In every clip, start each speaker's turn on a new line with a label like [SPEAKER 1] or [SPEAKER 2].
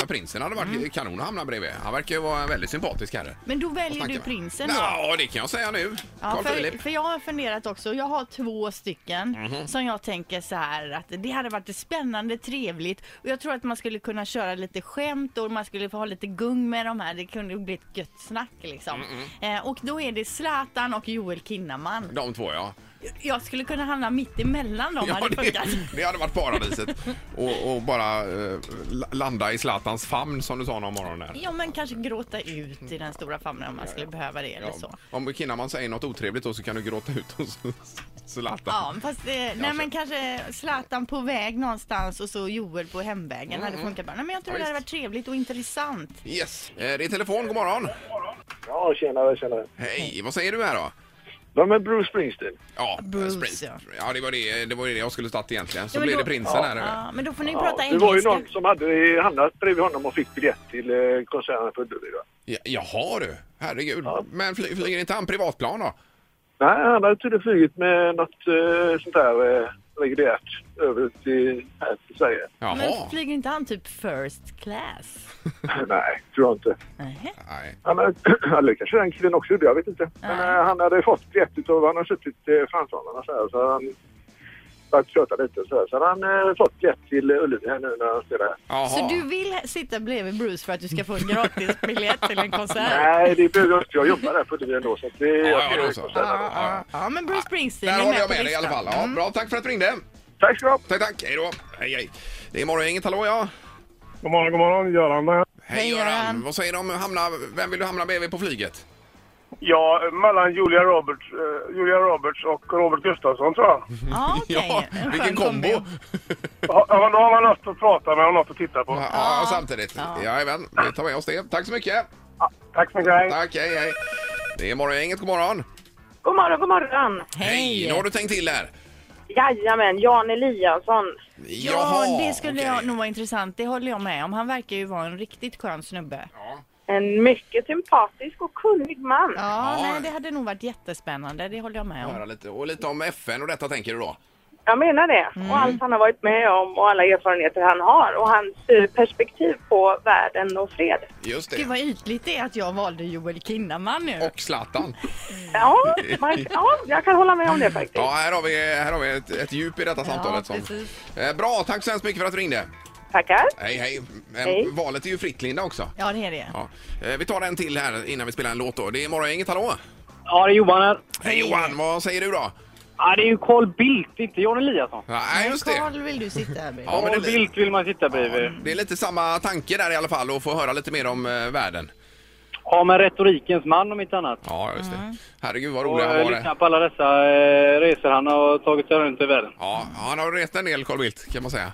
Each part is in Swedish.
[SPEAKER 1] men prinsen hade varit
[SPEAKER 2] Mm.
[SPEAKER 1] kanon att hamna bredvid. Han verkar ju vara en väldigt sympatisk herre.
[SPEAKER 2] Men då väljer
[SPEAKER 1] Vad
[SPEAKER 2] du
[SPEAKER 1] snackar vi?
[SPEAKER 2] prinsen då?
[SPEAKER 1] Ja, det kan jag säga nu.
[SPEAKER 2] Ja,
[SPEAKER 1] Carl
[SPEAKER 2] för,
[SPEAKER 1] Philip. Mhm.
[SPEAKER 2] för jag har funderat också. Jag har två stycken som jag tänker så här att det hade varit spännande, trevligt och jag tror att man skulle kunna köra lite skämt och man skulle få ha lite gung med de här. Det kunde ju bli ett gött snack liksom. Eh, och då är det Zlatan och Joel Kinnaman.
[SPEAKER 1] De två, ja.
[SPEAKER 2] Jag skulle kunna hamna mitt emellan dem hade
[SPEAKER 1] det,
[SPEAKER 2] funkat.
[SPEAKER 1] det hade varit paradiset. och, och bara eh, la- landa i Zlatans famn som du sa någon morgon där.
[SPEAKER 2] Ja men kanske gråta ut i den stora famnen om man skulle behöva det eller
[SPEAKER 1] Ja,
[SPEAKER 2] så.
[SPEAKER 1] Om Kinnaman säger något otrevligt då så kan du gråta ut hos Zlatan.
[SPEAKER 2] Ja, men fast eh, nej, men kanske Zlatan på väg någonstans och så Joel på hemvägen hade funkat bra. Nej, men jag tror
[SPEAKER 1] Mm. Ja,
[SPEAKER 2] det hade
[SPEAKER 1] visst.
[SPEAKER 2] varit trevligt och intressant.
[SPEAKER 1] Yes, eh, det är telefon. God morgon.
[SPEAKER 3] Ja, tjenare, tjenare.
[SPEAKER 1] Hej, vad säger du här då?
[SPEAKER 3] Ja, men Bruce Springsteen.
[SPEAKER 1] Ja, eh,
[SPEAKER 2] Bruce,
[SPEAKER 1] Sprit.
[SPEAKER 2] ja.
[SPEAKER 1] ja det, var det, det var ju det jag skulle tagit egentligen. Så
[SPEAKER 2] Ja, men
[SPEAKER 1] blev
[SPEAKER 2] då-
[SPEAKER 1] det prinsen här.
[SPEAKER 2] Ja, men då får ni
[SPEAKER 3] Ja,
[SPEAKER 2] prata
[SPEAKER 3] det var ju
[SPEAKER 2] engelska.
[SPEAKER 3] någon som hade hamnat bredvid honom och fick biljett till eh, konserten på Ullevi. va?
[SPEAKER 1] Ja, jaha du, herregud. Men fly, flyger inte han privatplan då?
[SPEAKER 3] Nej, han hade tydligen flugit med något eh, sånt där eh, reguljärt över till, här till Sverige.
[SPEAKER 1] Jaha.
[SPEAKER 2] Men flyger inte han typ first class?
[SPEAKER 3] Nej, tror jag inte.
[SPEAKER 2] Nähä.
[SPEAKER 1] Nej.
[SPEAKER 3] Han hade, eller kanske den killen också gjorde, jag vet inte. Men
[SPEAKER 2] Nej.
[SPEAKER 3] eh, han hade fått biljett utav, han har suttit eh, framför honom och så, här, så han börjat köta lite och så, här. så han hade eh, fått biljett till eh, Ullevi här nu när han spelar här.
[SPEAKER 1] Jaha.
[SPEAKER 2] Så du vill sitta bredvid Bruce för att du ska få en gratisbiljett till en konsert?
[SPEAKER 3] Nej, det behöver jag inte. Jag jobbar där på Ullevi ändå så att det...
[SPEAKER 1] Ja,
[SPEAKER 3] jag
[SPEAKER 1] ja,
[SPEAKER 3] ska
[SPEAKER 1] då
[SPEAKER 3] göra
[SPEAKER 1] så.
[SPEAKER 3] konserten.
[SPEAKER 2] Ja, ja, ja, men Bruce Springsteen
[SPEAKER 1] Där
[SPEAKER 2] är
[SPEAKER 1] håller
[SPEAKER 2] med
[SPEAKER 1] jag
[SPEAKER 2] på
[SPEAKER 1] med dig i alla
[SPEAKER 2] listan.
[SPEAKER 1] fall. Ja,
[SPEAKER 2] Mm.
[SPEAKER 1] bra, tack för att du ringde.
[SPEAKER 3] Tack ska du ha!
[SPEAKER 1] Tack, tack. Hej då. Hej, hej. Det är morgon, inget hallå ja.
[SPEAKER 4] God morgon, god morgon. Göran här.
[SPEAKER 1] Hej,
[SPEAKER 2] Hej,
[SPEAKER 1] Göran.
[SPEAKER 2] Göran.
[SPEAKER 1] Vad säger du om hamna, vem vill du hamna bredvid på flyget?
[SPEAKER 4] Ja, mellan Julia Roberts, eh, Julia Roberts och Robert Gustafsson tror jag.
[SPEAKER 2] Mm. Ja, okej. En skön
[SPEAKER 1] vilken kombo.
[SPEAKER 2] kombo.
[SPEAKER 4] Ha, ja, då har man något att prata med och något att titta på.
[SPEAKER 1] Ja, ja, samtidigt. Jajamän, vi tar med oss det. Tack så mycket.
[SPEAKER 4] Ah, Tack så mycket, hej.
[SPEAKER 1] Tack, hej, hej. Det är morgon, inget god morgon.
[SPEAKER 5] God morgon, god morgon.
[SPEAKER 2] Hej!
[SPEAKER 1] Nu har du tänkt till här.
[SPEAKER 5] Jajamän, Jan Eliasson.
[SPEAKER 2] Ja,
[SPEAKER 1] Jaha,
[SPEAKER 2] det skulle
[SPEAKER 1] okej.
[SPEAKER 2] jag nog vara intressant. Det håller jag med om. Han verkar ju vara en riktigt skön snubbe.
[SPEAKER 1] Ja.
[SPEAKER 5] En mycket sympatisk och kunnig man.
[SPEAKER 2] Ja,
[SPEAKER 1] Ja.
[SPEAKER 2] nej, det hade nog varit jättespännande. Det håller jag med om.
[SPEAKER 1] Höra lite, och lite om FN och detta tänker du då?
[SPEAKER 5] Jag menar det. Och allt han har varit med om och alla erfarenheter han har och hans eh, perspektiv på världen och fred.
[SPEAKER 1] Just
[SPEAKER 2] Gud
[SPEAKER 1] det.
[SPEAKER 2] vad ytligt det är att jag valde Joel Kinnaman nu.
[SPEAKER 1] Och Zlatan.
[SPEAKER 5] Ja, man, ja jag kan hålla med om det faktiskt.
[SPEAKER 1] Ja, här har vi, här har vi ett, ett djup i detta samtalet. Som,
[SPEAKER 2] precis.
[SPEAKER 1] eh, bra, tack så hemskt mycket för att du ringde.
[SPEAKER 5] Tackar.
[SPEAKER 1] Hej, hej. Men
[SPEAKER 5] Hej.
[SPEAKER 1] valet är ju fritt, Linda, också.
[SPEAKER 2] Ja, det är det.
[SPEAKER 1] Ja. Eh, vi tar en till här innan vi spelar en låt. Då. Det är Morgongänget, hallå!
[SPEAKER 6] Ja, det är Johan här.
[SPEAKER 1] Hej Johan, vad säger du då?
[SPEAKER 6] Ja, det är ju Carl Bildt, inte Jan Eliasson.
[SPEAKER 1] Nej, just det.
[SPEAKER 2] Karl vill du sitta här med.
[SPEAKER 1] Ja, men
[SPEAKER 6] Carl
[SPEAKER 1] det-
[SPEAKER 6] Bildt vill man sitta bredvid.
[SPEAKER 1] Det är lite samma tanke där i alla fall, att få höra lite mer om eh, världen.
[SPEAKER 6] Ja, men retorikens man om inte annat.
[SPEAKER 1] Ja, just det. Herregud vad
[SPEAKER 6] Och
[SPEAKER 1] rolig han
[SPEAKER 6] eh,
[SPEAKER 1] var.
[SPEAKER 6] lyssna
[SPEAKER 1] det.
[SPEAKER 6] på alla dessa eh, resor han har tagit sig runt i världen.
[SPEAKER 1] Ja, han har rest en del, Carl Bildt, kan man säga.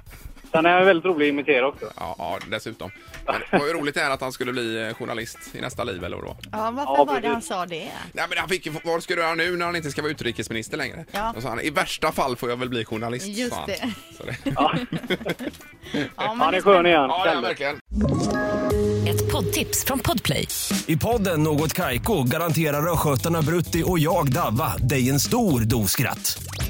[SPEAKER 6] Sen är han väldigt rolig att imitera också.
[SPEAKER 1] Ja, ja dessutom. Men det var ju roligt det här att han skulle bli eh, journalist i nästa liv, eller vad det var.
[SPEAKER 2] Ja, varför
[SPEAKER 6] Ja,
[SPEAKER 2] var det
[SPEAKER 6] precis.
[SPEAKER 2] han sa det?
[SPEAKER 1] Nej, men han fick ju, vad ska du göra nu när han inte ska vara utrikesminister längre?
[SPEAKER 2] Ja.
[SPEAKER 1] Och så han, i värsta fall får jag väl bli journalist,
[SPEAKER 2] Just
[SPEAKER 1] sa han.
[SPEAKER 2] det.
[SPEAKER 1] Så det.
[SPEAKER 2] Ja, men
[SPEAKER 6] Han är
[SPEAKER 2] det-
[SPEAKER 6] skön igen.
[SPEAKER 1] Ja, det är han verkligen.
[SPEAKER 7] Ett poddtips från Podplay.
[SPEAKER 8] I podden Något Kaiko garanterar östgötarna Brutti och jag, Davva, dig en stor dos skratt.